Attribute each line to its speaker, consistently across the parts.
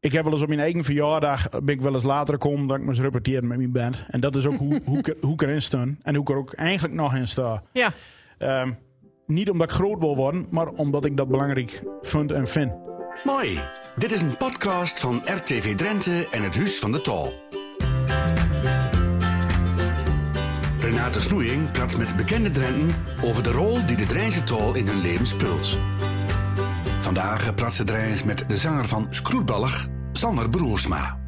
Speaker 1: ik heb wel eens op mijn eigen verjaardag, ben ik wel eens later kom, dat ik me eens repeteer met mijn band. En dat is ook hoe, hoe, ik er- hoe ik erin sta en hoe ik er ook eigenlijk nog in sta.
Speaker 2: Ja.
Speaker 1: Ehm, niet omdat ik groot wil worden, maar omdat ik dat belangrijk vind en vind.
Speaker 3: Mooi. Dit is een podcast van RTV Drenthe en het Huis van de Tal. Renate Snoeing praat met bekende Drenten over de rol die de Drijnse Tal in hun leven speelt. Vandaag praat ze Drijns met de zanger van Skroetballig, Sander Broersma.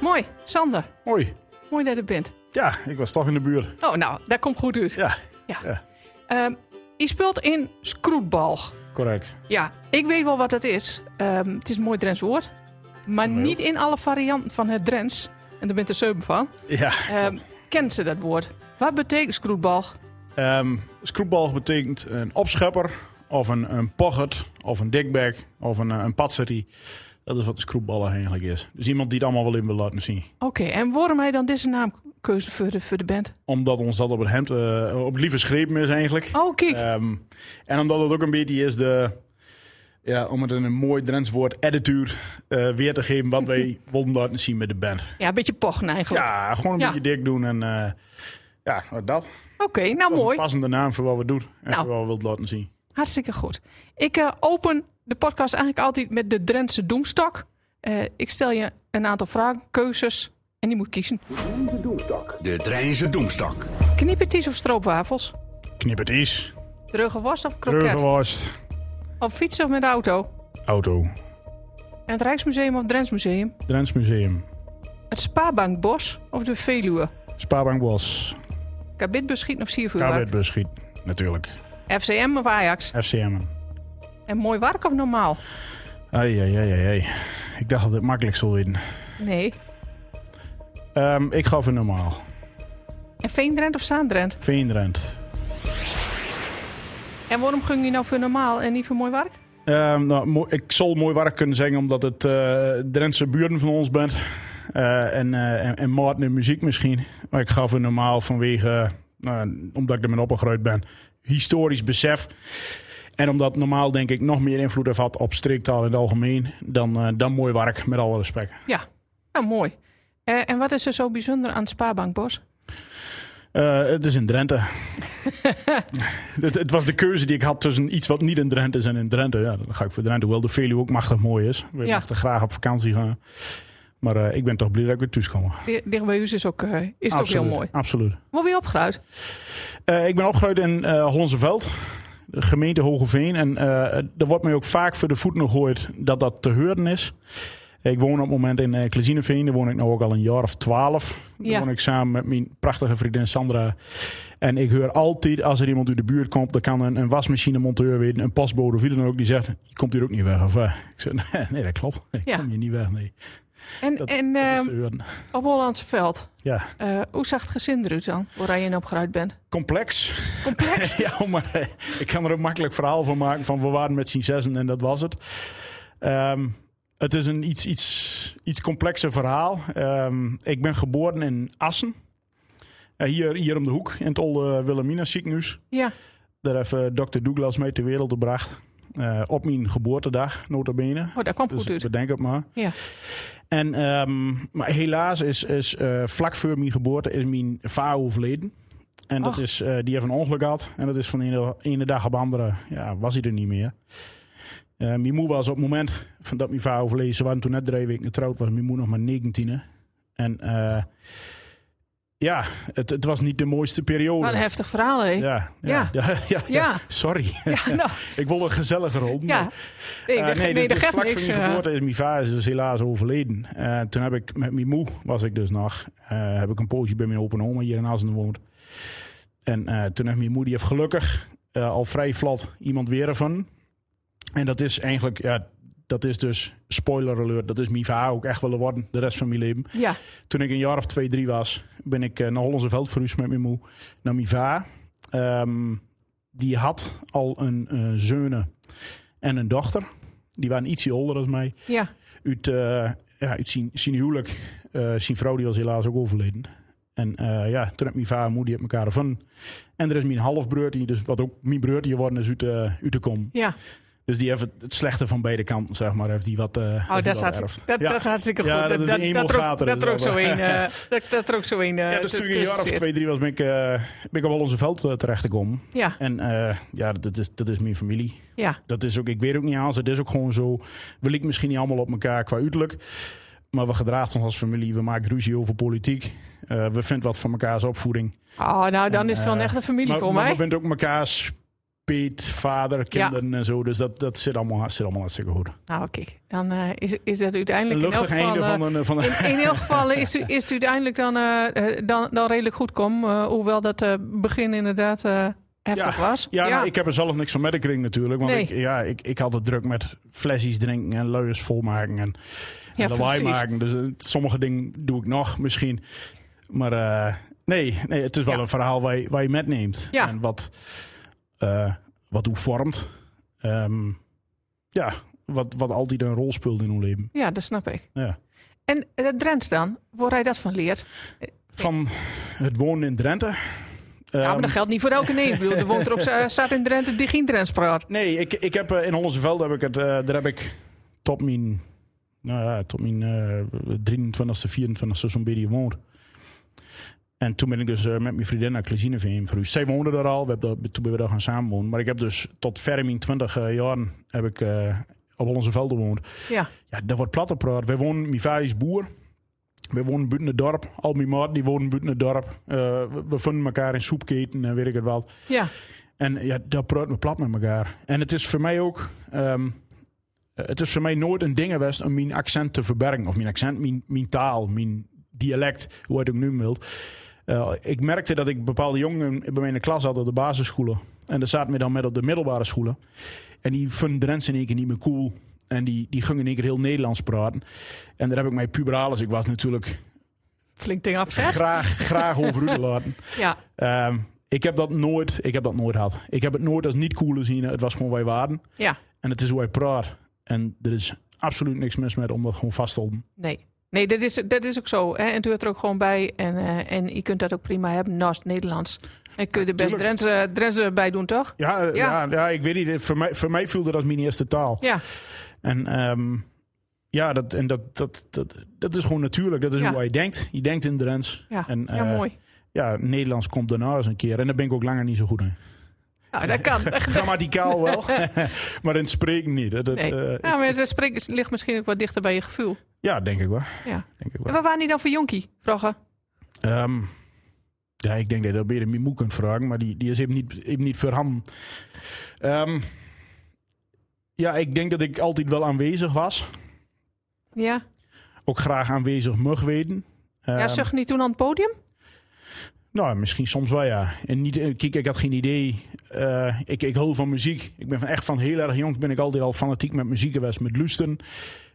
Speaker 2: Mooi. Sander,
Speaker 1: Hoi.
Speaker 2: mooi dat je er bent.
Speaker 1: Ja, ik was toch in de buurt.
Speaker 2: Oh, nou, dat komt goed uit.
Speaker 1: Ja,
Speaker 2: Ja.
Speaker 1: ja.
Speaker 2: Ehm, je speelt in Skroetbalg.
Speaker 1: correct.
Speaker 2: Ja, ik weet wel wat dat is. Ehm, het is een mooi Drents woord. Maar
Speaker 1: mij
Speaker 2: niet in alle varianten van het Drents. En daar bent er zeven van.
Speaker 1: Ja,
Speaker 2: Ehm, kent ze dat woord? Wat betekent Skroetbalg?
Speaker 1: Ehm scroopbalg betekent een opschepper, of een, een pocket, of een dickbag, of een, eh, een patserie. Dat is wat de scroopballer eigenlijk is. Dus iemand die het allemaal wel in wil laten zien.
Speaker 2: Oké, en waarom heb je dan deze naamkeuze voor de, voor de band?
Speaker 1: Omdat ons dat op het hemd, eh, op het lieve schrepen is eigenlijk.
Speaker 2: Oh, kijk.
Speaker 1: Ehm, en omdat het ook een beetje is de, ja, om het in een mooi Drents woord, attitude eh, weer te geven wat wij wilden laten zien met de band.
Speaker 2: Ja, een beetje pochen eigenlijk.
Speaker 1: Ja, gewoon een
Speaker 2: Ja.
Speaker 1: beetje dik doen en eh, ja, dat. Dat
Speaker 2: Oké, nou
Speaker 1: is een
Speaker 2: mooi.
Speaker 1: passende naam voor wat we doen en
Speaker 2: Nou.
Speaker 1: voor wat we wilden laten zien.
Speaker 2: Hartstikke goed. Ik eh, open de podcast eigenlijk altijd met de Drentse Doemstok. Eh, ik stel je een aantal vragen, keuzes en die moet kiezen.
Speaker 3: De Drijnse Doemstak.
Speaker 2: Knippertjes of stroopwafels?
Speaker 1: Knipperties,
Speaker 2: Droge worst of kroket?
Speaker 1: reugenworst,
Speaker 2: Op fiets of met de auto?
Speaker 1: auto,
Speaker 2: En het Rijksmuseum of Drents Museum?
Speaker 1: Drents Museum,
Speaker 2: Het Spaarbankbos of de Veluwe?
Speaker 1: Spaarbank Bos,
Speaker 2: Kabitbeschieten of Siervuurwerk?
Speaker 1: Kabit Schiet, natuurlijk,
Speaker 2: FCM of Ajax?
Speaker 1: FCM.
Speaker 2: En mooi werk of normaal?
Speaker 1: Ai, ai, ai, ai, ai. Ik dacht dat het makkelijk zou worden.
Speaker 2: Nee.
Speaker 1: Ehm, ik ga voor normaal.
Speaker 2: En Veendrent of Zaandrent?
Speaker 1: Veendrent.
Speaker 2: En waarom ging je nou voor normaal en niet voor mooi werk?
Speaker 1: Ehm, nou, mo- ik zal mooi werk kunnen zeggen, omdat het eh, Drentse buren van ons bent. Eh, en, eh en, en Maarten in muziek misschien. Maar ik gaf er normaal vanwege, eh, nou, omdat ik ermee opgegroeid ben, historisch besef. En omdat normaal denk ik nog meer invloed heeft had op streektaal in het algemeen dan, eh, dan mooi werk, met alle respect.
Speaker 2: Ja, nou mooi. Eh, en wat is er zo bijzonder aan het Spaarbankbos?
Speaker 1: Eh, het is in Drenthe. het, het was de keuze die ik had tussen iets wat niet in Drenthe is en in Drenthe. Ja, dan ga ik voor Drenthe. Hoewel de Veluwe ook machtig mooi is. We
Speaker 2: Ja.
Speaker 1: mochten graag op vakantie gaan. Maar eh, ik ben toch blij dat ik weer thuis kom.
Speaker 2: Di- Dicht bij u is ook, eh, is toch heel
Speaker 1: Absoluut,
Speaker 2: mooi.
Speaker 1: Absoluut.
Speaker 2: Word je opgeruid?
Speaker 1: Eh, ik ben opgegroeid in eh Hollandse Veld. de Gemeente Hogeveen. En eh er wordt mij ook vaak voor de voeten gegooid dat dat te horen is. Ik woon op het moment in eh Klezineveen. Daar woon ik nu ook al een jaar of twaalf. Daar
Speaker 2: Ja.
Speaker 1: woon ik samen met mijn prachtige vriendin Sandra. En ik hoor altijd, als er iemand uit de buurt komt... dan kan een, een wasmachinemonteur weer, een postbode of wie dan ook... die zegt, je komt hier ook niet weg. Of, eh, ik zeg, nee, nee, dat klopt. Ik
Speaker 2: Ja.
Speaker 1: kom hier niet weg, nee.
Speaker 2: En, en
Speaker 1: Dat is
Speaker 2: ehm,
Speaker 1: te horen.
Speaker 2: op Hollandse veld,
Speaker 1: Ja,
Speaker 2: eh, hoe zag het gezin eruit dan? Waar je in opgeruid bent?
Speaker 1: complex.
Speaker 2: Complex?
Speaker 1: ja, maar eh, ik kan er een makkelijk verhaal van maken van we waren met z'n zessen en dat was het. Ehm, het is een iets, iets, iets complexer verhaal. Ehm, ik ben geboren in Assen. Eh, hier, hier om de hoek, in het oude Wilhelmina ziekenhuis.
Speaker 2: ja.
Speaker 1: Daar heeft eh, dokter Douglas mee ter wereld gebracht. Eh, op mijn geboortedag, nota bene.
Speaker 2: Oh, dat kwam
Speaker 1: Dus
Speaker 2: goed uit.
Speaker 1: bedenk het maar.
Speaker 2: Ja.
Speaker 1: En, ehm, maar helaas is, is eh, vlak voor mijn geboorte is mijn vader overleden. En dat
Speaker 2: Ach.
Speaker 1: is, eh, die heeft een ongeluk gehad. En dat is van de ene, ene dag op de andere ja, was hij er niet meer. Eh, mijn moeder was op het moment van dat mijn vader overleden. Ze waren toen net drie weken getrouwd. Was mijn moeder nog maar 19. hè. En eh, ja, het, het was niet de mooiste periode.
Speaker 2: Wat een heftig verhaal, hè? Ja,
Speaker 1: ja, ja, ja. ja,
Speaker 2: Ja.
Speaker 1: Sorry.
Speaker 2: nou,
Speaker 1: Ik wil een gezellige rol.
Speaker 2: ja. Nee,
Speaker 1: Eh,
Speaker 2: dat-
Speaker 1: nee,
Speaker 2: nee,
Speaker 1: dus
Speaker 2: dat
Speaker 1: is
Speaker 2: geeft
Speaker 1: vlak
Speaker 2: niks.
Speaker 1: voor mijn
Speaker 2: eh.
Speaker 1: geboorte is mijn vader dus helaas overleden. Eh, toen heb ik met mijn moe, was ik dus nog, eh, heb ik een poosje bij mijn open oma hier in Assen gewoond. En eh, toen heeft mijn moe, die heeft gelukkig eh, al vrij vlot iemand weer ervan. En dat is eigenlijk, ja, dat is dus, spoiler alert, dat is mijn vader ook echt willen worden de rest van mijn leven.
Speaker 2: ja.
Speaker 1: Toen ik een jaar of twee, drie was, ben ik eh, naar Hollandse Veld verhuisd met mijn moe, naar mijn va. Ehm, die had al een eh zeune en een dochter. Die waren ietsje ouder dan mij.
Speaker 2: ja.
Speaker 1: Uit, eh, ja, uit zijn, zijn huwelijk, eh, zijn vrouw die was helaas ook overleden. En eh, ja, toen heb mijn vader en moeder die hebben elkaar van. En er is mijn halfbroertje, dus wat ook mijn broertje geworden is uit, eh, uit de kom.
Speaker 2: Ja.
Speaker 1: Dus Dus die heeft het- het slechte van beide kanten, zeg maar. Heeft die wat, eh, heeft die
Speaker 2: Oh, dat is,
Speaker 1: wat
Speaker 2: hartstikke,
Speaker 1: erfd.
Speaker 2: dat,
Speaker 1: ja.
Speaker 2: dat is hartstikke goed.
Speaker 1: Ja, dat is
Speaker 2: dat,
Speaker 1: die
Speaker 2: dat, er ook-
Speaker 1: eenmaal
Speaker 2: dat er ook zo
Speaker 1: gaten,
Speaker 2: een. eh, dat, dat er ook zo een. eh,
Speaker 1: Ja, dus
Speaker 2: tu-
Speaker 1: toen ik een jaar of
Speaker 2: tussen zit.
Speaker 1: twee, drie was, ben ik, eh, ben ik op Hollandse Veld eh, terechtgekomen.
Speaker 2: Ja,
Speaker 1: En eh, ja, dat is, dat is mijn familie.
Speaker 2: ja,
Speaker 1: Dat is ook, ik weet ook niet aan. Het is ook gewoon zo. We lieken misschien niet allemaal op elkaar qua uiterlijk. Maar we gedragen ons als familie. We maken ruzie over politiek. Eh, we vinden wat van mekaars opvoeding.
Speaker 2: Oh, nou dan
Speaker 1: En,
Speaker 2: is het wel
Speaker 1: eh,
Speaker 2: echt een familie
Speaker 1: maar,
Speaker 2: voor
Speaker 1: maar
Speaker 2: mij.
Speaker 1: we bent ook mekaars peet, vader, kinderen en zo. Dus dat, dat zit, allemaal, zit allemaal hartstikke goed.
Speaker 2: Nou, kijk, dan eh, is, is het
Speaker 1: Een
Speaker 2: uiteindelijk in elk
Speaker 1: luchtig
Speaker 2: geval...
Speaker 1: einde
Speaker 2: eh,
Speaker 1: van een... Van een
Speaker 2: in, in elk geval is, het- is het uiteindelijk dan, eh, eh, dan, dan redelijk goed kom. eh, hoewel dat eh, begin inderdaad eh, heftig was.
Speaker 1: ja, nou, ik heb er zelf niks van medekring natuurlijk. Want
Speaker 2: Nee.
Speaker 1: ik, ja, ik, ik had het druk met flesjes drinken en luiers volmaken en,
Speaker 2: Ja,
Speaker 1: en lawaai
Speaker 2: precies.
Speaker 1: maken. Dus eh, sommige dingen doe ik nog misschien. Maar eh, nee, nee, het is wel
Speaker 2: Ja.
Speaker 1: een verhaal waar je, waar je metneemt.
Speaker 2: Ja.
Speaker 1: En wat, eh wat hoe vormt. Ehm, ja, wat, wat altijd een rol speelt in hun leven.
Speaker 2: ja, dat snap ik.
Speaker 1: Ja.
Speaker 2: En dat Drents dan, waar hij dat van leert.
Speaker 1: Van het wonen in Drenthe.
Speaker 2: ja,
Speaker 1: Ehm,
Speaker 2: maar dat geldt niet voor elke nee. Ik bedoel, er woont er ook eh, staat in Drenthe die geen Drents praat.
Speaker 1: Nee, ik, ik heb eh, in onze veld heb ik het. eh, daar heb ik tot mijn, nou ja, tot mijn eh 23e, 24e zo'n beetje gewoond. En toen ben ik dus eh, met mijn vriendin naar Klezineveen verhuisd. Zij woonde daar al, we hebben daar- toen ben we daar gaan samenwonen. Maar ik heb dus tot ver in mijn 20 eh, jaren heb ik, eh, op onze veld gewoond.
Speaker 2: Ja,
Speaker 1: Ja, dat wordt platte praat. Wij wonen, mijn vader is boer. We wonen buiten het dorp. Al mijn maat die wonen buiten het dorp. Eh, we, we vinden elkaar in soepketen en weet ik het wat.
Speaker 2: ja,
Speaker 1: En ja, dat praat me plat met elkaar. En het is voor mij ook. ehm, eh, het is voor mij nooit een ding geweest om mijn accent te verbergen. Of mijn accent, mijn, mijn taal, mijn dialect, hoe je het ook nu wilt. Eh, ik merkte dat ik bepaalde jongeren bij mij in de klas had op de basisscholen. En daar zaten we dan met op de middelbare scholen. En die vonden Drents in één keer niet meer cool. En die, die gingen in één keer heel Nederlands praten. En daar heb ik mij puberaal, als ik was natuurlijk
Speaker 2: flink ding afzet.
Speaker 1: graag, graag over laten.
Speaker 2: Ja,
Speaker 1: Ehm, ik heb dat nooit, ik heb dat nooit gehad. Ik heb het nooit als niet cool gezien. Het was gewoon wij waren.
Speaker 2: ja,
Speaker 1: En het is hoe wij praat. En er is absoluut niks mis met om dat gewoon vast te houden.
Speaker 2: nee. Nee, dat is, dat is ook zo. Hè? En het hoort er ook gewoon bij. En, eh, en je kunt dat ook prima hebben naast het Nederlands. En kun je er best
Speaker 1: Tuurlijk.
Speaker 2: Drents, eh, Drents erbij doen, toch?
Speaker 1: Ja, eh,
Speaker 2: Ja.
Speaker 1: ja. ja, ik weet niet. Voor mij, voor mij viel dat als mijn eerste taal.
Speaker 2: Ja,
Speaker 1: En ehm, ja, dat, en dat, dat, dat, dat is gewoon natuurlijk. Dat is
Speaker 2: Ja.
Speaker 1: hoe hij denkt. Je denkt in Drents.
Speaker 2: ja.
Speaker 1: En,
Speaker 2: ja
Speaker 1: eh,
Speaker 2: mooi.
Speaker 1: Ja, Nederlands komt daarna eens een keer. En daar ben ik ook langer niet zo goed in.
Speaker 2: Nou, dat kan.
Speaker 1: Grammaticaal wel, maar in het spreken niet. Dat, dat,
Speaker 2: Nee.
Speaker 1: eh,
Speaker 2: Ja, maar het spreekt- het ligt misschien ook wat dichter bij je gevoel.
Speaker 1: ja, denk ik wel.
Speaker 2: Ja.
Speaker 1: Denk ik wel.
Speaker 2: En waar waren die dan voor jonkie? Vroeger.
Speaker 1: Ehm, ja, ik denk dat je dat beter Mimoe kunt vragen, maar die, die is even niet, even niet verham. Ehm, ja, ik denk dat ik altijd wel aanwezig was.
Speaker 2: Ja.
Speaker 1: Ook graag aanwezig mag weten.
Speaker 2: ja,
Speaker 1: Ehm,
Speaker 2: zag niet toen aan het podium?
Speaker 1: Nou, misschien soms wel, ja. En niet, eh, kijk, ik had geen idee. Eh, ik, ik hou van muziek. Ik ben van, echt van heel erg jong ben ik altijd al fanatiek met muziek geweest. Met lusten,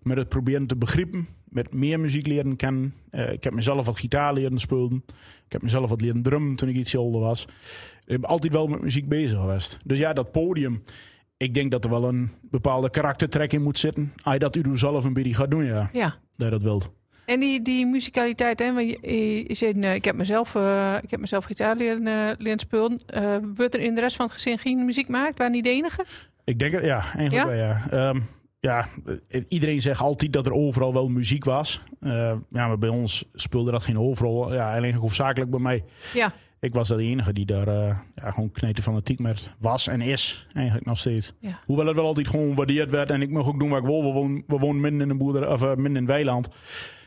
Speaker 1: met het proberen te begrijpen. Met meer muziek leren kennen. Eh, ik heb mezelf wat gitaar leren spelen. Ik heb mezelf wat leren drummen toen ik iets ouder was. Ik ben altijd wel met muziek bezig geweest. Dus ja, dat podium. Ik denk dat er wel een bepaalde karaktertrek in moet zitten. Als je dat u zelf een beetje gaat doen, ja.
Speaker 2: Ja.
Speaker 1: Dat je dat wilt.
Speaker 2: En die, die muzikaliteit, hè? Want je, je- je zei, eh, ik, heb mezelf, eh, ik heb mezelf gitaar leren, eh, leren spelen. Eh, wordt er in de rest van het gezin geen muziek gemaakt? Waren niet de enige?
Speaker 1: Ik denk het, ja, eigenlijk
Speaker 2: Ja?
Speaker 1: wel, ja. Ehm, ja, eh, iedereen zegt altijd dat er overal wel muziek was. Eh, ja, maar bij ons speelde dat geen overal. Ja, alleen hoofdzakelijk bij mij.
Speaker 2: Ja.
Speaker 1: Ik was de enige die daar eh, ja, gewoon kneten fanatiek met was en is. Eigenlijk nog steeds.
Speaker 2: Ja.
Speaker 1: Hoewel het wel altijd gewoon gewaardeerd werd. En ik mocht ook doen wat ik wil. We woonden, we woonden midden in een boerderij, of eh, midden in een weiland.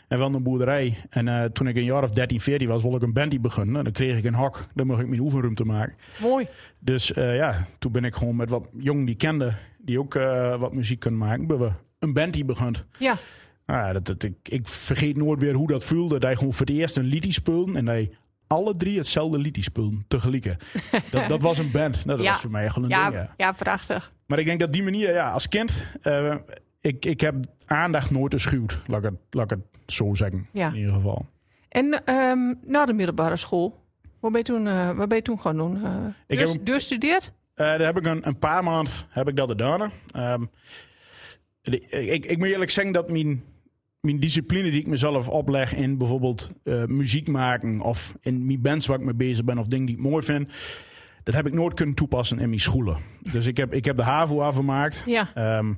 Speaker 1: En wel in een boerderij. En eh, toen ik een jaar of 13, 14 was, wilde ik een bandie beginnen. En dan kreeg ik een hok. Dan mocht ik mijn oefenruimte maken.
Speaker 2: Mooi.
Speaker 1: Dus eh, ja, toen ben ik gewoon met wat jong die kende, die ook eh, wat muziek kunnen maken, hebben we een band die begint.
Speaker 2: Ja.
Speaker 1: Nou ja, dat, dat, ik, ik vergeet nooit weer hoe dat voelde. Dat hij gewoon voor het eerst een liedje speelde en dat hij alle drie hetzelfde liedje speelden tegelijk. Dat, dat was een band. Nou, dat
Speaker 2: Ja.
Speaker 1: was voor mij gewoon een ding.
Speaker 2: Ja,
Speaker 1: ja.
Speaker 2: ja, prachtig.
Speaker 1: Maar ik denk dat die manier, ja, als kind, eh, ik, ik heb aandacht nooit geschuwd. Laat ik het, laat ik het zo zeggen,
Speaker 2: Ja.
Speaker 1: in ieder geval.
Speaker 2: En ehm, na de middelbare school, wat ben je toen, eh, wat ben je toen gaan doen? eh
Speaker 1: Ik
Speaker 2: dus,
Speaker 1: heb een-
Speaker 2: dus studeerd?
Speaker 1: Eh, daar heb ik een, een paar maanden heb ik dat gedaan. Ehm, de- ik, ik moet eerlijk zeggen dat mijn, mijn discipline die ik mezelf opleg in bijvoorbeeld eh, muziek maken of in mijn bands waar ik mee bezig ben of dingen die ik mooi vind, Dat heb ik nooit kunnen toepassen in mijn schoenen. Dus ik heb, ik heb de HAVO afgemaakt.
Speaker 2: Ja.
Speaker 1: Ehm,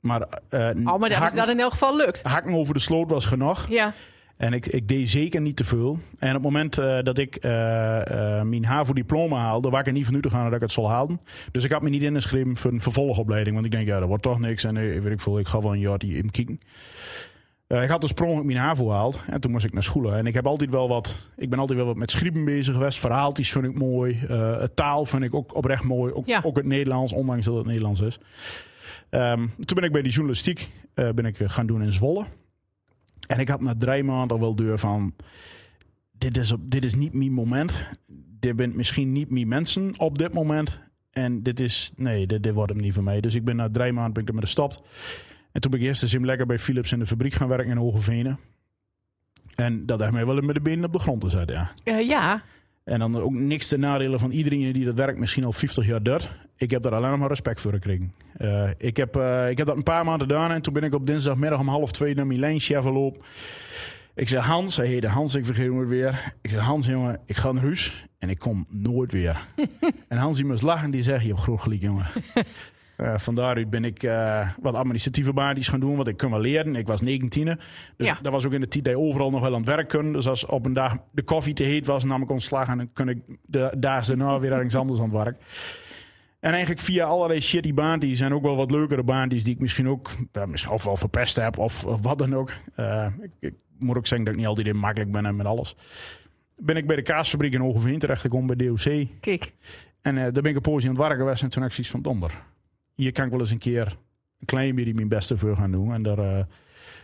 Speaker 1: maar eh,
Speaker 2: Oh, maar dat is
Speaker 1: hakken-
Speaker 2: dat in elk geval lukt.
Speaker 1: hakken over de sloot was genoeg.
Speaker 2: Ja,
Speaker 1: En ik, ik deed zeker niet te veel. En op het moment eh, dat ik eh, eh, mijn HAVO-diploma haalde, was ik er niet van uit te gaan dat ik het zal halen. Dus ik had me niet ingeschreven voor een vervolgopleiding. Want ik denk, ja, dat wordt toch niks. En eh, weet ik veel, ik ga wel een jaar die in kieken. Eh, ik had dus per ongeluk mijn HAVO gehaald. En toen moest ik naar school. En ik, heb altijd wel wat, ik ben altijd wel wat met schrijven bezig geweest. Verhaaltjes vind ik mooi. Eh, taal vind ik ook oprecht mooi. Ook,
Speaker 2: Ja.
Speaker 1: ook het Nederlands, ondanks dat het Nederlands is. Ehm, toen ben ik bij die journalistiek eh, ben ik, eh, gaan doen in Zwolle. En ik had na drie maanden al wel deur van... Dit is, op, dit is niet mijn moment. Dit bent misschien niet mijn mensen op dit moment. En dit is... Nee, dit, dit wordt hem niet voor mij. Dus ik ben na drie maanden ben ik ermee gestopt. En toen ben ik eerst eens even lekker bij Philips in de fabriek gaan werken in Hogevenen. En dat heeft mij wel met de benen op de grond gezet, ja.
Speaker 2: Eh, ja.
Speaker 1: En dan ook niks te nadelen van iedereen die dat werk misschien al 50 jaar doet. Ik heb daar alleen nog maar respect voor gekregen. Eh, ik, heb, eh, ik heb dat een paar maanden gedaan en toen ben ik op dinsdagmiddag om half twee naar mijn lijnchef lopen. Ik zei Hans, hij heette Hans, ik vergeet hem nooit weer. Ik zei Hans, jongen, ik ga naar huis en ik kom nooit weer. en Hans die moest lachen, die zegt, je hebt groot gelijk, jongen. Eh van daaruit ben ik eh, wat administratieve baantjes gaan doen, want ik kon wel leren. Ik was 19. Dus
Speaker 2: Ja.
Speaker 1: dat was ook in de tijd dat je overal nog wel aan het werk kon. Dus als op een dag de koffie te heet was, nam ik ontslag en dan kon ik de dagen daarna weer ergens anders aan het werk. En eigenlijk via allerlei shitty baantjes en ook wel wat leukere baantjes die ik misschien ook eh, misschien of wel verpest heb of, of wat dan ook. Eh, ik, ik moet ook zeggen dat ik niet altijd heel makkelijk ben en met alles. Ben ik bij de kaasfabriek in Hogeveen terechtgekomen bij DOC.
Speaker 2: Kijk.
Speaker 1: En eh, daar ben ik een poosje aan het werken geweest en toen had ik zoiets van donder. Hier kan ik wel eens een keer een klein beetje mijn beste voor gaan doen. En daar, eh,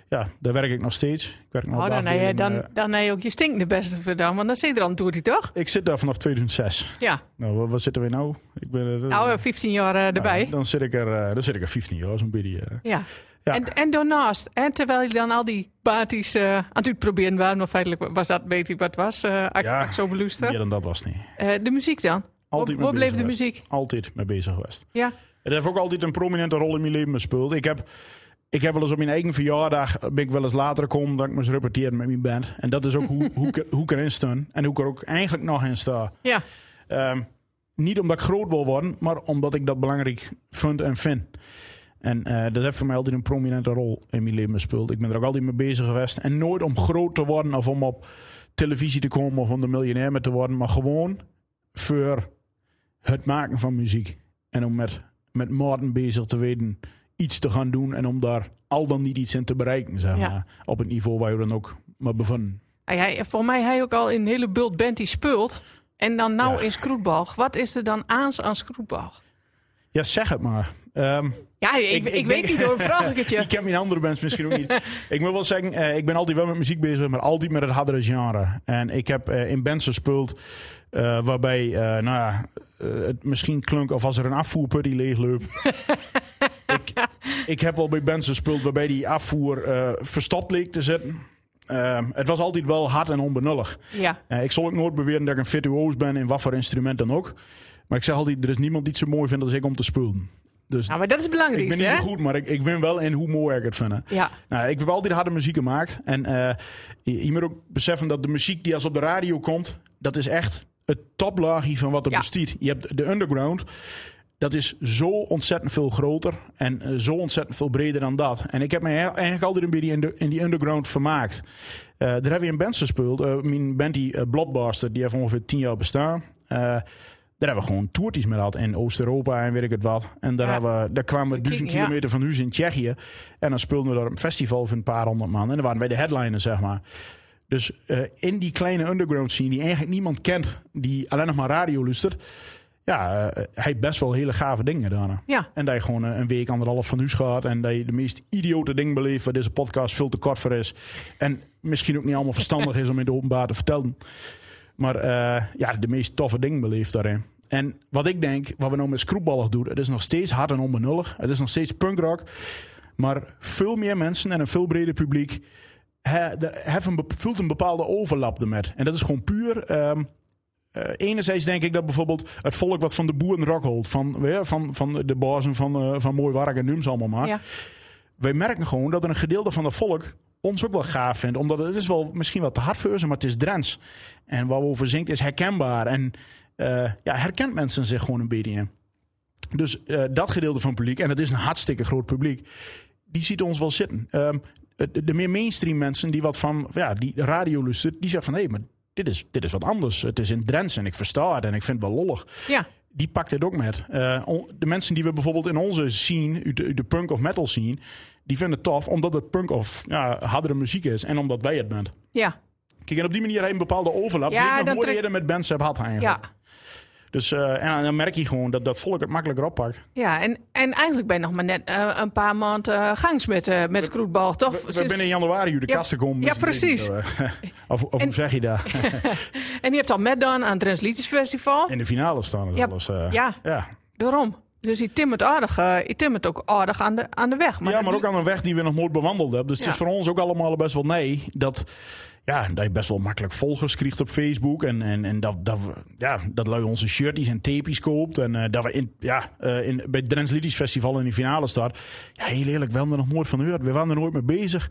Speaker 1: ja, daar werk ik nog steeds. Ik werk nog op
Speaker 2: Oh,
Speaker 1: de
Speaker 2: dan heb je,
Speaker 1: afdeling,
Speaker 2: dan,
Speaker 1: eh,
Speaker 2: dan heb je ook je stinkende beste verdam, want dan zit er aan doet hij toch?
Speaker 1: ik zit daar vanaf 2006.
Speaker 2: Ja.
Speaker 1: Nou, waar, waar zitten we nou? Ik ben, eh,
Speaker 2: Nou, eh, 15 jaar eh,
Speaker 1: nou,
Speaker 2: erbij.
Speaker 1: dan, zit ik er, eh, dan zit ik er 15 jaar, zo'n beetje. eh.
Speaker 2: Ja.
Speaker 1: Ja.
Speaker 2: En, en daarnaast, en terwijl je dan al die baties eh, aan het uitproberen waren, maar feitelijk was dat weet ik wat was, eh als ik-
Speaker 1: Ja.
Speaker 2: als ik zo beluister.
Speaker 1: Meer dan dat was het niet.
Speaker 2: Eh, de muziek dan?
Speaker 1: Altijd
Speaker 2: Waar
Speaker 1: mee
Speaker 2: bleef
Speaker 1: bezig
Speaker 2: de
Speaker 1: geweest.
Speaker 2: muziek?
Speaker 1: Altijd mee bezig geweest.
Speaker 2: Ja.
Speaker 1: Het heeft ook altijd een prominente rol in mijn leven gespeeld. Ik heb, ik heb wel eens op mijn eigen verjaardag, ben ik wel eens later gekomen dat ik me eens repeteerde met mijn band. En dat is ook hoe, hoe, ik er- hoe ik erin sta. En hoe ik er ook eigenlijk nog in sta.
Speaker 2: Ja.
Speaker 1: Ehm, niet omdat ik groot wil worden, maar omdat ik dat belangrijk vind en vind. En eh, dat heeft voor mij altijd een prominente rol in mijn leven gespeeld. Ik ben er ook altijd mee bezig geweest. En nooit om groot te worden of om op televisie te komen of om de miljonair mee te worden. Maar gewoon voor het maken van muziek. En om met, met Maarten bezig te weten iets te gaan doen. En om daar al dan niet iets in te bereiken, zeg
Speaker 2: Ja.
Speaker 1: maar. Op het niveau waar je dan ook maar bevinden.
Speaker 2: Hij, hij, voor mij hij ook al een hele bult band die speelt. En dan nou
Speaker 1: Ja.
Speaker 2: in Scroetbalg. Wat is er dan aans aan Scroetbalg?
Speaker 1: Ja, zeg het maar. Ehm,
Speaker 2: Ja, ik, ik,
Speaker 1: ik
Speaker 2: weet
Speaker 1: denk-
Speaker 2: niet, hoor vraag ik het je.
Speaker 1: Ik ken mijn andere bands misschien ook niet. ik moet wel zeggen, eh, ik ben altijd wel met muziek bezig, maar altijd met het hardere genre. En ik heb eh, in bands gespeeld eh, waarbij, eh, nou ja, eh, het misschien klonk of als er een afvoerput die leegloop. ik, ik heb wel bij bands gespeeld waarbij die afvoer eh, verstopt leek te zitten. Eh, het was altijd wel hard en onbenullig.
Speaker 2: Ja,
Speaker 1: Eh, ik zal ook nooit beweren dat ik een virtuoos ben in wat voor instrument dan ook. Maar ik zeg altijd, er is niemand die het zo mooi vindt als ik om te spelen. Dus
Speaker 2: nou, maar dat is het
Speaker 1: ik ben
Speaker 2: belangrijkste,
Speaker 1: niet
Speaker 2: hè?
Speaker 1: zo goed, maar ik, ik win wel in hoe mooi ik het vind. hè.
Speaker 2: Ja,
Speaker 1: Nou, ik heb altijd harde muziek gemaakt. En eh, je, je moet ook beseffen dat de muziek die als op de radio komt, dat is echt het toplaagje van wat er
Speaker 2: Ja.
Speaker 1: bestiert. Je hebt de underground. Dat is zo ontzettend veel groter en eh, zo ontzettend veel breder dan dat. En ik heb me he- eigenlijk altijd een beetje in, de, in die underground vermaakt. Eh daar hebben we in bands gespeeld. Eh, mijn band die eh, Blockbuster, die heeft ongeveer tien jaar bestaan. Eh, daar hebben we gewoon toertjes mee gehad in Oost-Europa en weet ik het wat. En daar,
Speaker 2: Ja.
Speaker 1: hebben we, daar kwamen we
Speaker 2: Kijk,
Speaker 1: duizend
Speaker 2: ja.
Speaker 1: kilometer van huis in Tsjechië. En dan speelden we daar een festival van een paar honderd man. En dan waren wij de headliners, zeg maar. Dus eh, in die kleine underground scene, die eigenlijk niemand kent, die alleen nog maar radio luistert. Ja, eh, hij heeft best wel hele gave dingen daarna.
Speaker 2: ja.
Speaker 1: En dat je gewoon eh, een week, anderhalf van huis gaat. En dat je de meest idiote dingen beleeft waar deze podcast veel te kort voor is. En misschien ook niet allemaal verstandig is om in de openbaar te vertellen. Maar eh, ja, de meest toffe dingen beleeft daarin. En wat ik denk, wat we nou met Scroepballig doen, het is nog steeds hard en onbenullig. Het is nog steeds punkrock. Maar veel meer mensen en een veel breder publiek he- de- hef een, be- voelt een bepaalde overlap ermee. En dat is gewoon puur. ehm, eh, enerzijds denk ik dat bijvoorbeeld het volk wat van de boeren rock houdt, van, weet je, van, van de bazen van, eh, van Mooi Wark en Nums allemaal maar.
Speaker 2: Ja.
Speaker 1: wij merken gewoon dat er een gedeelte van het volk ons ook wel gaaf vindt. Omdat het is wel misschien wat te hard voor ze, maar het is Drents. En waar we over zingt is herkenbaar. En eh, ja, herkent mensen zich gewoon een beetje in. Dus eh, dat gedeelte van het publiek, en dat is een hartstikke groot publiek, die ziet ons wel zitten. Ehm, de, de meer mainstream mensen die wat van ja, die radio luistert, die zeggen van hé, maar dit is, dit is wat anders. Het is in Drents en ik versta het en ik vind het wel lollig
Speaker 2: Ja,
Speaker 1: die pakt het ook met. Eh, on- de mensen die we bijvoorbeeld in onze scene, uit de, uit de punk of metal scene, die vinden het tof omdat het punk of ja, hardere muziek is en omdat wij het bent.
Speaker 2: ja,
Speaker 1: Kijk, en op die manier heb je een bepaalde overlap
Speaker 2: Ja,
Speaker 1: die ik nog
Speaker 2: dan
Speaker 1: nooit
Speaker 2: trek-
Speaker 1: eerder met bands heb gehad eigenlijk.
Speaker 2: ja.
Speaker 1: Dus eh, en dan merk je gewoon dat dat volk het makkelijker oppakt.
Speaker 2: Ja, en, en eigenlijk ben je nog maar net eh, een paar maanden eh, gangs met, eh met Scrootbal, toch?
Speaker 1: We, we
Speaker 2: Sinds-
Speaker 1: binnen in januari hoe de
Speaker 2: Ja,
Speaker 1: kasten komen.
Speaker 2: ja,
Speaker 1: dus ik weet
Speaker 2: precies.
Speaker 1: niet, eh, of of hoe zeg je dat?
Speaker 2: En je hebt al metdaan aan het Drents Liedjes Festival.
Speaker 1: In de finale staan er
Speaker 2: Ja,
Speaker 1: zelfs. eh,
Speaker 2: ja.
Speaker 1: ja.
Speaker 2: Daarom. Dus die timmert aardig, eh, die timmert ook aardig aan de, aan de weg.
Speaker 1: ja, maar ook aan een weg die we nog nooit bewandeld hebben. Dus het
Speaker 2: Ja.
Speaker 1: is voor ons ook allemaal best wel nee. Dat, ja, dat je best wel makkelijk volgers krijgt op Facebook. En, en, en dat, dat, we, ja, dat lui onze shirties en tapies koopt. En eh, dat we in, ja, eh, in, bij het Drents Liedjes Festival in die finale staan. Ja, heel eerlijk, we hebben er nog nooit van gehoord. We waren er nooit mee bezig.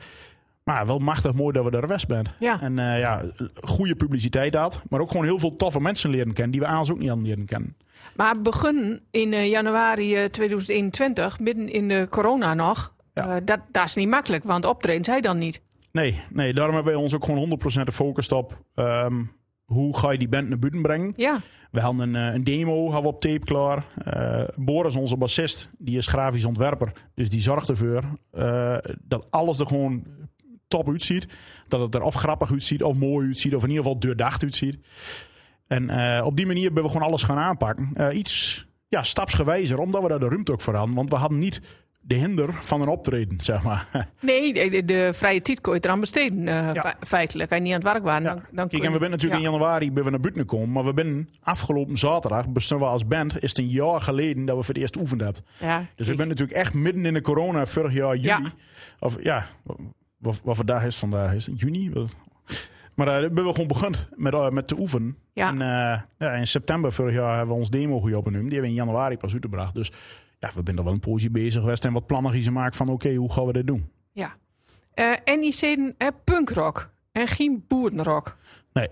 Speaker 1: Maar wel machtig mooi dat we er rest bent.
Speaker 2: Ja.
Speaker 1: En eh, ja, goede publiciteit had. Maar ook gewoon heel veel toffe mensen leren kennen. Die we aans ook niet aan leren kennen.
Speaker 2: Maar begin in eh, januari eh, 2021, midden in de corona nog,
Speaker 1: Ja.
Speaker 2: eh, dat, dat is niet makkelijk, want optreden zij dan niet.
Speaker 1: Nee, nee, daarom hebben wij ons ook gewoon 100% gefocust op... ehm, hoe ga je die band naar buiten brengen?
Speaker 2: Ja,
Speaker 1: We hadden een, eh, een demo hadden we op tape klaar. Eh, Boris, onze bassist, die is grafisch ontwerper. Dus die zorgt ervoor eh, dat alles er gewoon top uitziet. Dat het er of grappig uitziet, of mooi uitziet, of in ieder geval doordacht uitziet. En eh, op die manier hebben we gewoon alles gaan aanpakken. Eh, iets ja, stapsgewijzer, omdat we daar de ruimte ook voor hadden. Want we hadden niet de hinder van een optreden, zeg maar.
Speaker 2: nee, de, de- de vrije tijd kon je eraan besteden, eh,
Speaker 1: Ja.
Speaker 2: fe- feitelijk. Als je niet aan het werk waren, dan, dan
Speaker 1: Kijk,
Speaker 2: kon
Speaker 1: en we
Speaker 2: je-
Speaker 1: zijn natuurlijk
Speaker 2: ja.
Speaker 1: in januari ben we naar buiten gekomen. Maar we zijn afgelopen zaterdag, bestaan we als band, is het een jaar geleden dat we voor het eerst oefend hebben.
Speaker 2: Ja,
Speaker 1: Dus ik ben natuurlijk echt midden in de corona, vorig jaar juli.
Speaker 2: Ja.
Speaker 1: Of ja, wat, wat vandaag is, vandaag is het juni. Wat- Maar eh, daar hebben we gewoon begonnen met, eh, met te oefenen.
Speaker 2: Ja.
Speaker 1: En, eh, ja, in september vorig jaar hebben we ons demo goed opgenomen. Die hebben we in januari pas uitgebracht. Dus ja, we zijn er wel een poosje bezig geweest. En wat plannen die ze maken van oké, hoe gaan we dit doen?
Speaker 2: ja. Eh, en die zeden eh, punkrock en geen boerenrock.
Speaker 1: Nee,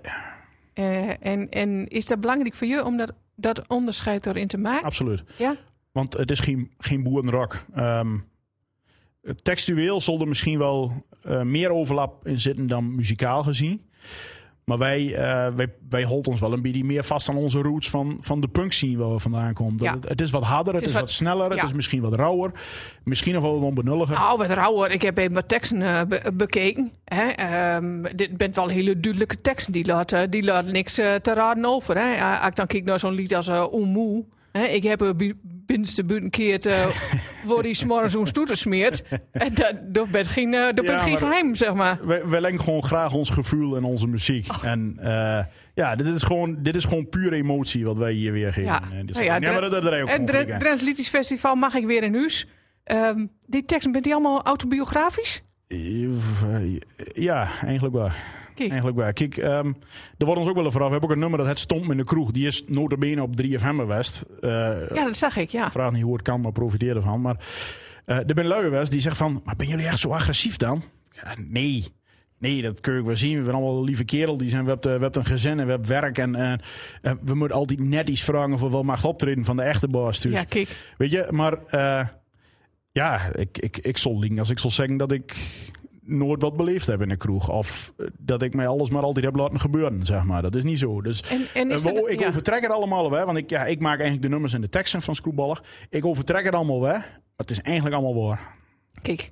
Speaker 2: Eh, en, en is dat belangrijk voor je om dat, dat onderscheid erin te maken?
Speaker 1: absoluut.
Speaker 2: Ja,
Speaker 1: Want het is geen, geen boerenrock. Ehm, textueel zal er misschien wel eh, meer overlap in zitten dan muzikaal gezien. Maar wij, eh, wij, wij holden ons wel een beetje meer vast aan onze roots van, van de punk scene waar we vandaan komen. Dat
Speaker 2: Ja.
Speaker 1: het, het is wat harder, het,
Speaker 2: is
Speaker 1: is
Speaker 2: wat-
Speaker 1: wat, sneller,
Speaker 2: ja.
Speaker 1: het is misschien wat rauwer. Misschien nog wel wat onbenulliger.
Speaker 2: nou, wat rauw hoor. Ik heb even wat teksten eh, be- bekeken. Hè? Ehm, dit bent wel hele duidelijke teksten. Die laat, eh, die laat niks eh, te raden over. Hè? Ah, Als ik dan kijk naar zo'n lied als eh Oemoe. Hè? Ik heb er bi- binnenste buiten keert eh wordt hij 's morgens een stoeter smeert. En dat, dat bent geen, eh, dat
Speaker 1: Ja,
Speaker 2: bent geen
Speaker 1: maar-
Speaker 2: geheim, zeg maar.
Speaker 1: Wij, wij lenken gewoon graag ons gevoel en onze muziek.
Speaker 2: Ah.
Speaker 1: En eh, ja, dit is, gewoon, dit is gewoon pure emotie wat wij hier weer geven.
Speaker 2: Ja.
Speaker 1: Eh, dit is-
Speaker 2: Nou ja, Dren-
Speaker 1: maar dat, dat, dat ook
Speaker 2: En
Speaker 1: gewoon
Speaker 2: Dren-
Speaker 1: gelijk aan.
Speaker 2: Drents Liedjes Festival mag ik weer in huis. Ehm, die teksten, bent die allemaal autobiografisch?
Speaker 1: Ja, eigenlijk wel.
Speaker 2: Kijk.
Speaker 1: Eigenlijk wel. Kijk, ehm, er wordt ons ook wel een vraag. We hebben ook een nummer dat het stomp in de kroeg. Die is notabene op 3FM West. Eh,
Speaker 2: Ja, dat zag ik, ja.
Speaker 1: Vraag niet hoe het kan, maar profiteer ervan. Maar eh er ben luie West die zegt van... Maar ben jullie echt zo agressief dan? Ja, nee. Nee, dat kun ik wel zien. We zijn allemaal lieve kerel. Die zijn, we, hebben, eh, we hebben een gezin en we hebben werk. En eh, eh, we moeten altijd net iets vragen voor wel mag optreden van de echte baas. Dus.
Speaker 2: Ja, kijk.
Speaker 1: Weet je, maar eh, ja, ik, ik, ik zal link als ik zal zeggen dat ik nooit wat beleefd heb in een kroeg. Of eh, dat ik mij alles maar altijd heb laten gebeuren, zeg maar. Dat is niet zo. Dus
Speaker 2: En, en is
Speaker 1: eh, we-
Speaker 2: dat-
Speaker 1: ik
Speaker 2: ja.
Speaker 1: overtrek het allemaal wel, want ik, ja, ik maak eigenlijk de nummers en de teksten van Screwballig. Ik overtrek het allemaal wel. Het is eigenlijk allemaal waar.
Speaker 2: Kijk.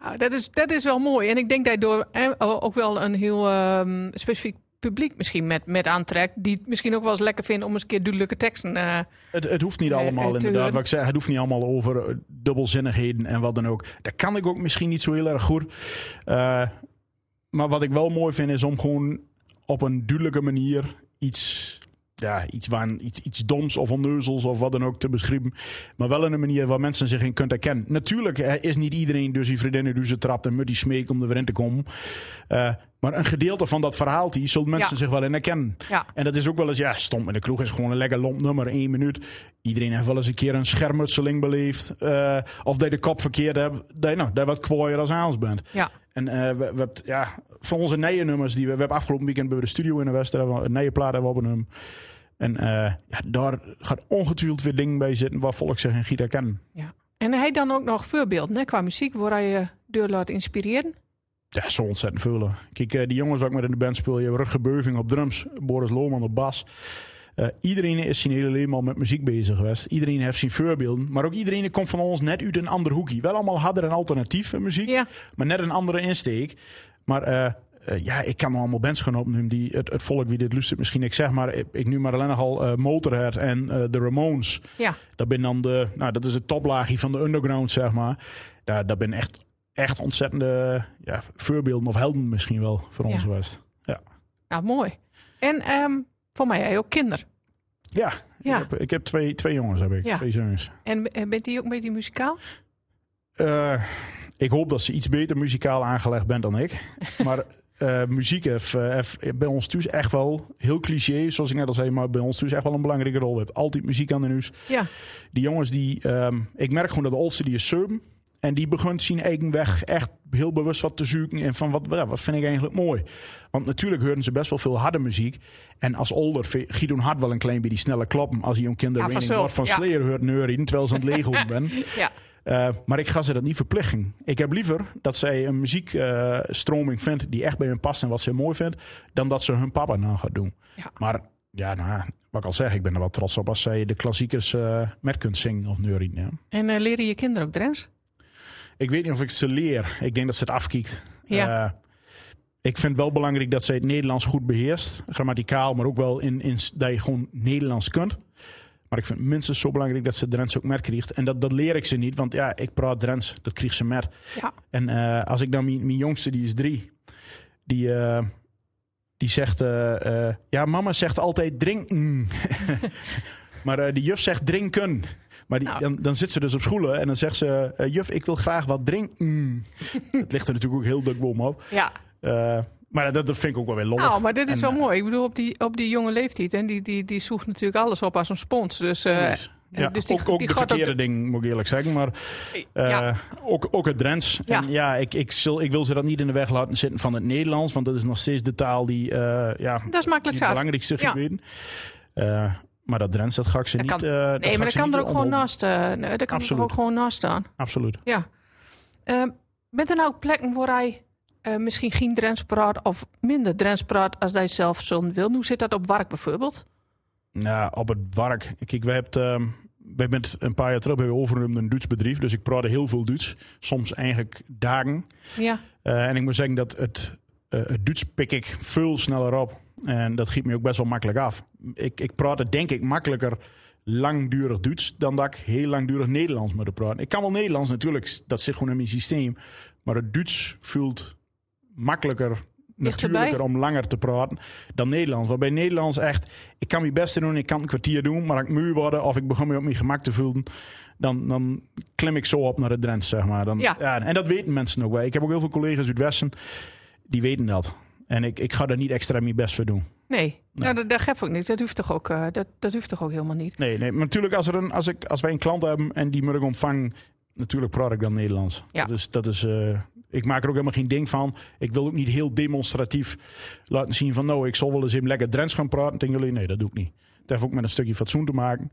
Speaker 2: Nou, dat, is, dat is wel mooi. En ik denk dat je door eh, o- ook wel een heel ehm, specifiek publiek misschien met, met aantrekt. Die het misschien ook wel eens lekker vindt om eens een keer duidelijke teksten. eh,
Speaker 1: Het, het hoeft niet
Speaker 2: Nee,
Speaker 1: allemaal
Speaker 2: het,
Speaker 1: inderdaad.
Speaker 2: eh,
Speaker 1: Wat ik zei, het hoeft niet allemaal over eh, dubbelzinnigheden en wat dan ook. Dat kan ik ook misschien niet zo heel erg goed. Eh, maar wat ik wel mooi vind is om gewoon op een duidelijke manier iets ja, iets, waar, iets, iets doms of onneuzels of wat dan ook te beschrijven. Maar wel in een manier waar mensen zich in kunt herkennen. Natuurlijk hè, is niet iedereen dus die vriendinnen die ze trapt en moet die smeek om er weer in te komen. Eh, maar een gedeelte van dat verhaal die zullen mensen
Speaker 2: Ja.
Speaker 1: zich wel in herkennen.
Speaker 2: Ja.
Speaker 1: En dat is ook wel eens, ja, stom in de kroeg is gewoon een lekker lomp nummer, één minuut. Iedereen heeft wel eens een keer een schermutseling beleefd. eh, of dat je de kop verkeerd hebt, dat je, nou, dat je wat kwooier als aans bent.
Speaker 2: Ja.
Speaker 1: En eh, we, we hebben, ja, van onze nieuwe nummers die we, we hebben afgelopen weekend bij de studio in de Westen, hebben we een nieuwe plaat hebben we opgenomen. En eh, ja, daar gaat ongetwijfeld weer dingen bij zitten waar volk zich in Gita kennen.
Speaker 2: ja. En hij dan ook nog voorbeeld hè, qua muziek, waar hij je door laat inspireren.
Speaker 1: Ja, zo ontzettend veel. Kijk, eh, die jongens waar ik met in de band speel, je hebt Rutger Beuving op drums, Boris Lohman op bas. Eh, iedereen is zijn hele leven al met muziek bezig geweest. Iedereen heeft zijn voorbeelden. Maar ook iedereen komt van ons net uit een ander hoekje. Wel allemaal harder en alternatief eh, muziek.
Speaker 2: Ja.
Speaker 1: maar net een andere insteek. Maar eh, eh, ja, ik kan me allemaal bands gaan opnoemen die het, het volk wie dit luistert misschien. Ik zeg maar, ik, ik nu maar alleen nogal eh Motorhead en eh, de Ramones.
Speaker 2: Ja.
Speaker 1: Dat ben dan de, nou dat is het toplaagje van de underground zeg maar. Ja, dat ben echt, echt ontzettende ja, voorbeelden of helden misschien wel voor ons
Speaker 2: Ja.
Speaker 1: geweest. Ja.
Speaker 2: Nou, mooi. En ehm, voor mij jij ook kinder.
Speaker 1: Ja,
Speaker 2: Ja.
Speaker 1: Ik, heb, ik heb twee, twee jongens, heb ik.
Speaker 2: Ja.
Speaker 1: Twee zoons.
Speaker 2: En eh, bent die ook een beetje muzikaal?
Speaker 1: Eh, ik hoop dat ze iets beter muzikaal aangelegd bent dan ik. Maar eh, muziek heeft, eh, heeft bij ons thuis echt wel, heel cliché zoals ik net al zei, maar bij ons thuis echt wel een belangrijke rol. We hebben altijd muziek aan de nieuws.
Speaker 2: Ja.
Speaker 1: Die jongens die, ehm, ik merk gewoon dat de oldste die is serben. En die begint zien eigen weg echt heel bewust wat te zoeken. En van wat, ja, wat vind ik eigenlijk mooi. Want natuurlijk hoorden ze best wel veel harde muziek. En als older vind- giet hun hart wel een klein beetje snelle klappen. Als die jong kinderen
Speaker 2: Ja,
Speaker 1: Raining
Speaker 2: vanzelf,
Speaker 1: Blood van
Speaker 2: ja.
Speaker 1: Slayer hoort neurien. Terwijl ze aan het lego ben.
Speaker 2: Ja.
Speaker 1: Eh, maar ik ga ze dat niet verplichten. Ik heb liever dat zij een muziekstroming vindt die echt bij hun past en wat ze mooi vindt, dan dat ze hun papa na gaat doen.
Speaker 2: Ja.
Speaker 1: Maar ja, nou, ja, wat ik al zeg, ik ben er wel trots op als zij de klassiekers eh, met kunt zingen of neurien. ja.
Speaker 2: En eh, leren je kinderen ook Drents?
Speaker 1: Ik weet niet of ik ze leer. Ik denk dat ze het afkiekt.
Speaker 2: Ja.
Speaker 1: Eh, ik vind wel belangrijk dat ze het Nederlands goed beheerst. Grammaticaal, maar ook wel in, in, dat je gewoon Nederlands kunt. Maar ik vind het minstens zo belangrijk dat ze Drents ook met krijgt. En dat, dat leer ik ze niet, want ja, ik praat Drents. Dat krijgt ze met.
Speaker 2: Ja.
Speaker 1: En eh, als ik dan mijn, mijn jongste, die is drie, die, eh, die zegt: eh, eh, Ja, mama zegt altijd drinken. maar eh, die juf zegt drinken. Maar die,
Speaker 2: Nou.
Speaker 1: dan, dan zit ze dus op school en dan zegt ze: eh, Juf, ik wil graag wat drinken. Mm. Het ligt er natuurlijk ook heel dikbom op.
Speaker 2: Ja.
Speaker 1: Eh, maar dat, dat vind ik ook wel weer lollig.
Speaker 2: Nou, maar dit is
Speaker 1: En,
Speaker 2: wel
Speaker 1: eh,
Speaker 2: mooi. Ik bedoel, op die, op die jonge leeftijd. En die, die, die zoekt natuurlijk alles op als een spons. Dus, eh,
Speaker 1: precies. ja,
Speaker 2: dus die-
Speaker 1: ook, ook
Speaker 2: die
Speaker 1: de
Speaker 2: gaat ook-
Speaker 1: verkeerde ding, moet ik eerlijk zeggen. Maar eh,
Speaker 2: ja.
Speaker 1: ook, ook het Drents.
Speaker 2: Ja.
Speaker 1: En ja, ik, ik, zul, ik wil ze dat niet in de weg laten zitten van het Nederlands. Want dat is nog steeds de taal die, eh, ja,
Speaker 2: dat is
Speaker 1: die
Speaker 2: makkelijk zaad.
Speaker 1: het belangrijkste
Speaker 2: Ja.
Speaker 1: gebieden. Eh, maar dat Drents, dat ga ik ze
Speaker 2: Dat
Speaker 1: niet...
Speaker 2: kan-
Speaker 1: eh, dat ga
Speaker 2: Nee,
Speaker 1: ik
Speaker 2: maar dat
Speaker 1: ze
Speaker 2: kan
Speaker 1: niet
Speaker 2: er ook gewoon
Speaker 1: onderdoen.
Speaker 2: naast, eh, nee, dat kan er
Speaker 1: Absoluut.
Speaker 2: ook gewoon naast staan.
Speaker 1: Absoluut.
Speaker 2: Ja. Eh, bent er nou ook plekken waar hij eh, misschien geen Drents praat of minder Drents praat als hij zelf zo wil? Hoe zit dat op werk bijvoorbeeld?
Speaker 1: Nou, op het werk. Kijk, wij hebben, ehm, wij bent een paar jaar terug bij overgenomen een Duits bedrijf. Dus ik praatte heel veel Duits. Soms eigenlijk dagen.
Speaker 2: Ja,
Speaker 1: Eh, en ik moet zeggen dat het, eh, het Duits pik ik veel sneller op. En dat giet me ook best wel makkelijk af. Ik, ik praat het denk ik makkelijker langdurig Duits dan dat ik heel langdurig Nederlands moet praten. Ik kan wel Nederlands natuurlijk, dat zit gewoon in mijn systeem. Maar het Duits voelt makkelijker,
Speaker 2: Dichterbij.
Speaker 1: natuurlijker om langer te praten dan Nederlands. Want bij Nederlands echt, ik kan mijn best doen, ik kan een kwartier doen, maar als ik muur worden of ik begon me op mijn gemak te voelen, dan, dan klim ik zo op naar de Drents, zeg maar. Dan,
Speaker 2: Ja.
Speaker 1: ja. en dat weten mensen ook wel. Ik heb ook heel veel collega's uit het Westen, die weten dat. En ik, ik ga daar niet extra mijn best voor doen.
Speaker 2: nee. Nou, dat, dat geeft ook niet. Dat hoeft toch ook, eh, dat, dat hoeft toch ook helemaal niet?
Speaker 1: Nee, nee. Maar natuurlijk, als, er een, als, ik, als wij een klant hebben en die moet ik ontvangen, natuurlijk praat ik dan Nederlands.
Speaker 2: Ja.
Speaker 1: Dus dat is. eh, ik maak er ook helemaal geen ding van. Ik wil ook niet heel demonstratief laten zien van, nou, ik zal wel eens even lekker Drents gaan praten. Tegen jullie, nee, dat doe ik niet. Het heeft ook met een stukje fatsoen te maken.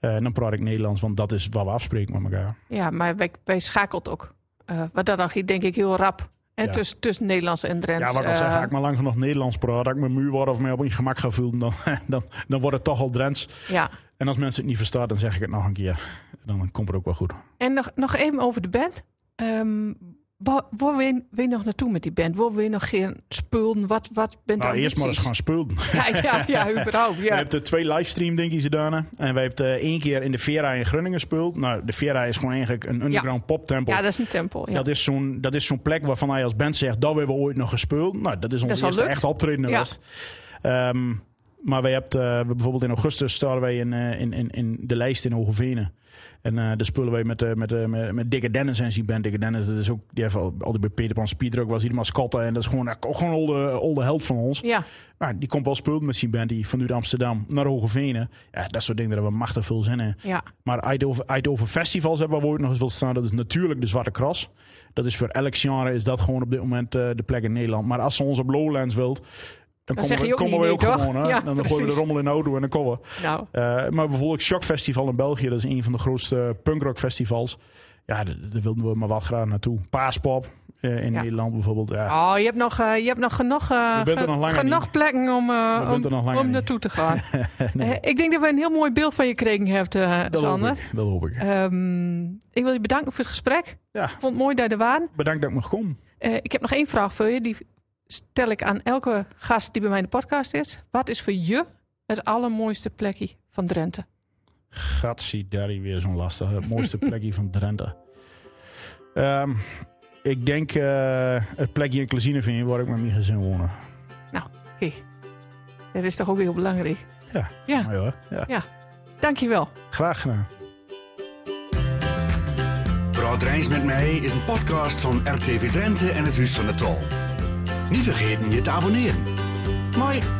Speaker 1: Eh, en dan praat ik Nederlands, want dat is wat we afspreken met elkaar.
Speaker 2: Ja, maar wij, wij schakelt ook. Eh, wat dat dan giet, denk ik heel rap. En
Speaker 1: Ja.
Speaker 2: tussen, tussen Nederlands en Drents.
Speaker 1: Ja, wat ik al
Speaker 2: eh,
Speaker 1: zeg, ga ik maar lang genoeg Nederlands praat, dat ik mijn muur word of mij op mijn gemak ga voelen, dan, dan, dan wordt het toch al Drents.
Speaker 2: ja.
Speaker 1: En als mensen het niet verstaan, dan zeg ik het nog een keer. Dan komt het ook wel goed.
Speaker 2: En nog, nog even over de band. Ehm waar waar we, we nog naartoe met die band? Waar we nog geen spullen? Wat, wat bent
Speaker 1: Nou,
Speaker 2: ambities?
Speaker 1: eerst maar eens gaan spelen.
Speaker 2: Ja, ja, ja überhaupt.
Speaker 1: We
Speaker 2: Ja.
Speaker 1: hebben er twee livestream dingetjes gedaan. En wij hebben eh, één keer in de Vera in Groningen gespeeld. Nou, de Vera is gewoon eigenlijk een underground poptempel.
Speaker 2: ja, dat is een tempel. Ja.
Speaker 1: Dat is zo'n dat is zo'n plek waarvan hij als band zegt, dat hebben we ooit nog gespeeld. Nou, dat is ons
Speaker 2: Dat is al
Speaker 1: eerste
Speaker 2: lukt.
Speaker 1: echt optreden
Speaker 2: Ja.
Speaker 1: geweest. Ehm, Maar wij hebben eh, we- bijvoorbeeld in augustus staan wij in, eh, in, in, in de lijst in Hogevenen. En eh daar spullen wij met, eh, met, eh, met, met Dikke Dennis en zijn band. Dikke Dennis, dat is ook, die heeft al, altijd bij Peter Pan Speedrock, was hij de mascotte. En dat is gewoon, eh, ook gewoon een olde, olde held van ons.
Speaker 2: Ja,
Speaker 1: Maar die komt wel spullen met zijn band, die vanuit Amsterdam naar Hogevenen. Ja, dat soort dingen, daar hebben we machtig veel zin in.
Speaker 2: ja.
Speaker 1: Maar Eindhoven, Eindhoven festivals hebben we ooit nog eens wil staan. Dat is natuurlijk de Zwarte Kras. Dat is voor elk genre is dat gewoon op dit moment eh, de plek in Nederland. Maar als ze ons op Lowlands wilt, dan,
Speaker 2: zeg
Speaker 1: komen,
Speaker 2: je
Speaker 1: we,
Speaker 2: ook
Speaker 1: komen
Speaker 2: niet
Speaker 1: we
Speaker 2: nee,
Speaker 1: ook
Speaker 2: toch?
Speaker 1: gewoon. Hè?
Speaker 2: Ja,
Speaker 1: dan gooien we
Speaker 2: precies.
Speaker 1: de rommel in de auto en dan komen we.
Speaker 2: Nou,
Speaker 1: Eh, maar bijvoorbeeld Shock Festival in België. Dat is een van de grootste punkrock festivals. Ja, daar daar wilden we maar wel graag naartoe. Paaspop eh, in
Speaker 2: Ja.
Speaker 1: Nederland bijvoorbeeld. Ja.
Speaker 2: oh, je hebt nog, eh, je hebt nog genoeg, eh,
Speaker 1: Je bent er nog langer
Speaker 2: genoeg
Speaker 1: niet.
Speaker 2: plekken om, eh,
Speaker 1: bent
Speaker 2: om,
Speaker 1: er nog langer
Speaker 2: om
Speaker 1: niet.
Speaker 2: naartoe te gaan. Eh, ik denk dat we een heel mooi beeld van je kregen hebben, eh,
Speaker 1: dat, hoop
Speaker 2: Sander.
Speaker 1: ik, dat hoop ik.
Speaker 2: Ehm, ik wil je bedanken voor het gesprek.
Speaker 1: Ja.
Speaker 2: Ik vond het mooi dat je er waren.
Speaker 1: Bedankt dat ik mag komen.
Speaker 2: Eh, ik heb nog één vraag voor je. Die stel ik aan elke gast die bij mij in de podcast is. Wat is voor je het allermooiste plekje van Drenthe?
Speaker 1: Gatsie, Derry weer zo'n lastige. Het mooiste plekje van Drenthe. Ehm, ik denk eh, het plekje in Klezineveen waar ik met mijn gezin woon.
Speaker 2: Kijk, Nou, dat is toch ook heel belangrijk.
Speaker 1: Ja,
Speaker 2: Ja.
Speaker 1: mooi hoor. Ja.
Speaker 2: Dankjewel.
Speaker 1: Graag gedaan.
Speaker 3: Broad Rijns met mij is een podcast van RTV Drenthe en het Huis van de Tal. Niet vergeten je te abonneren. Mooi.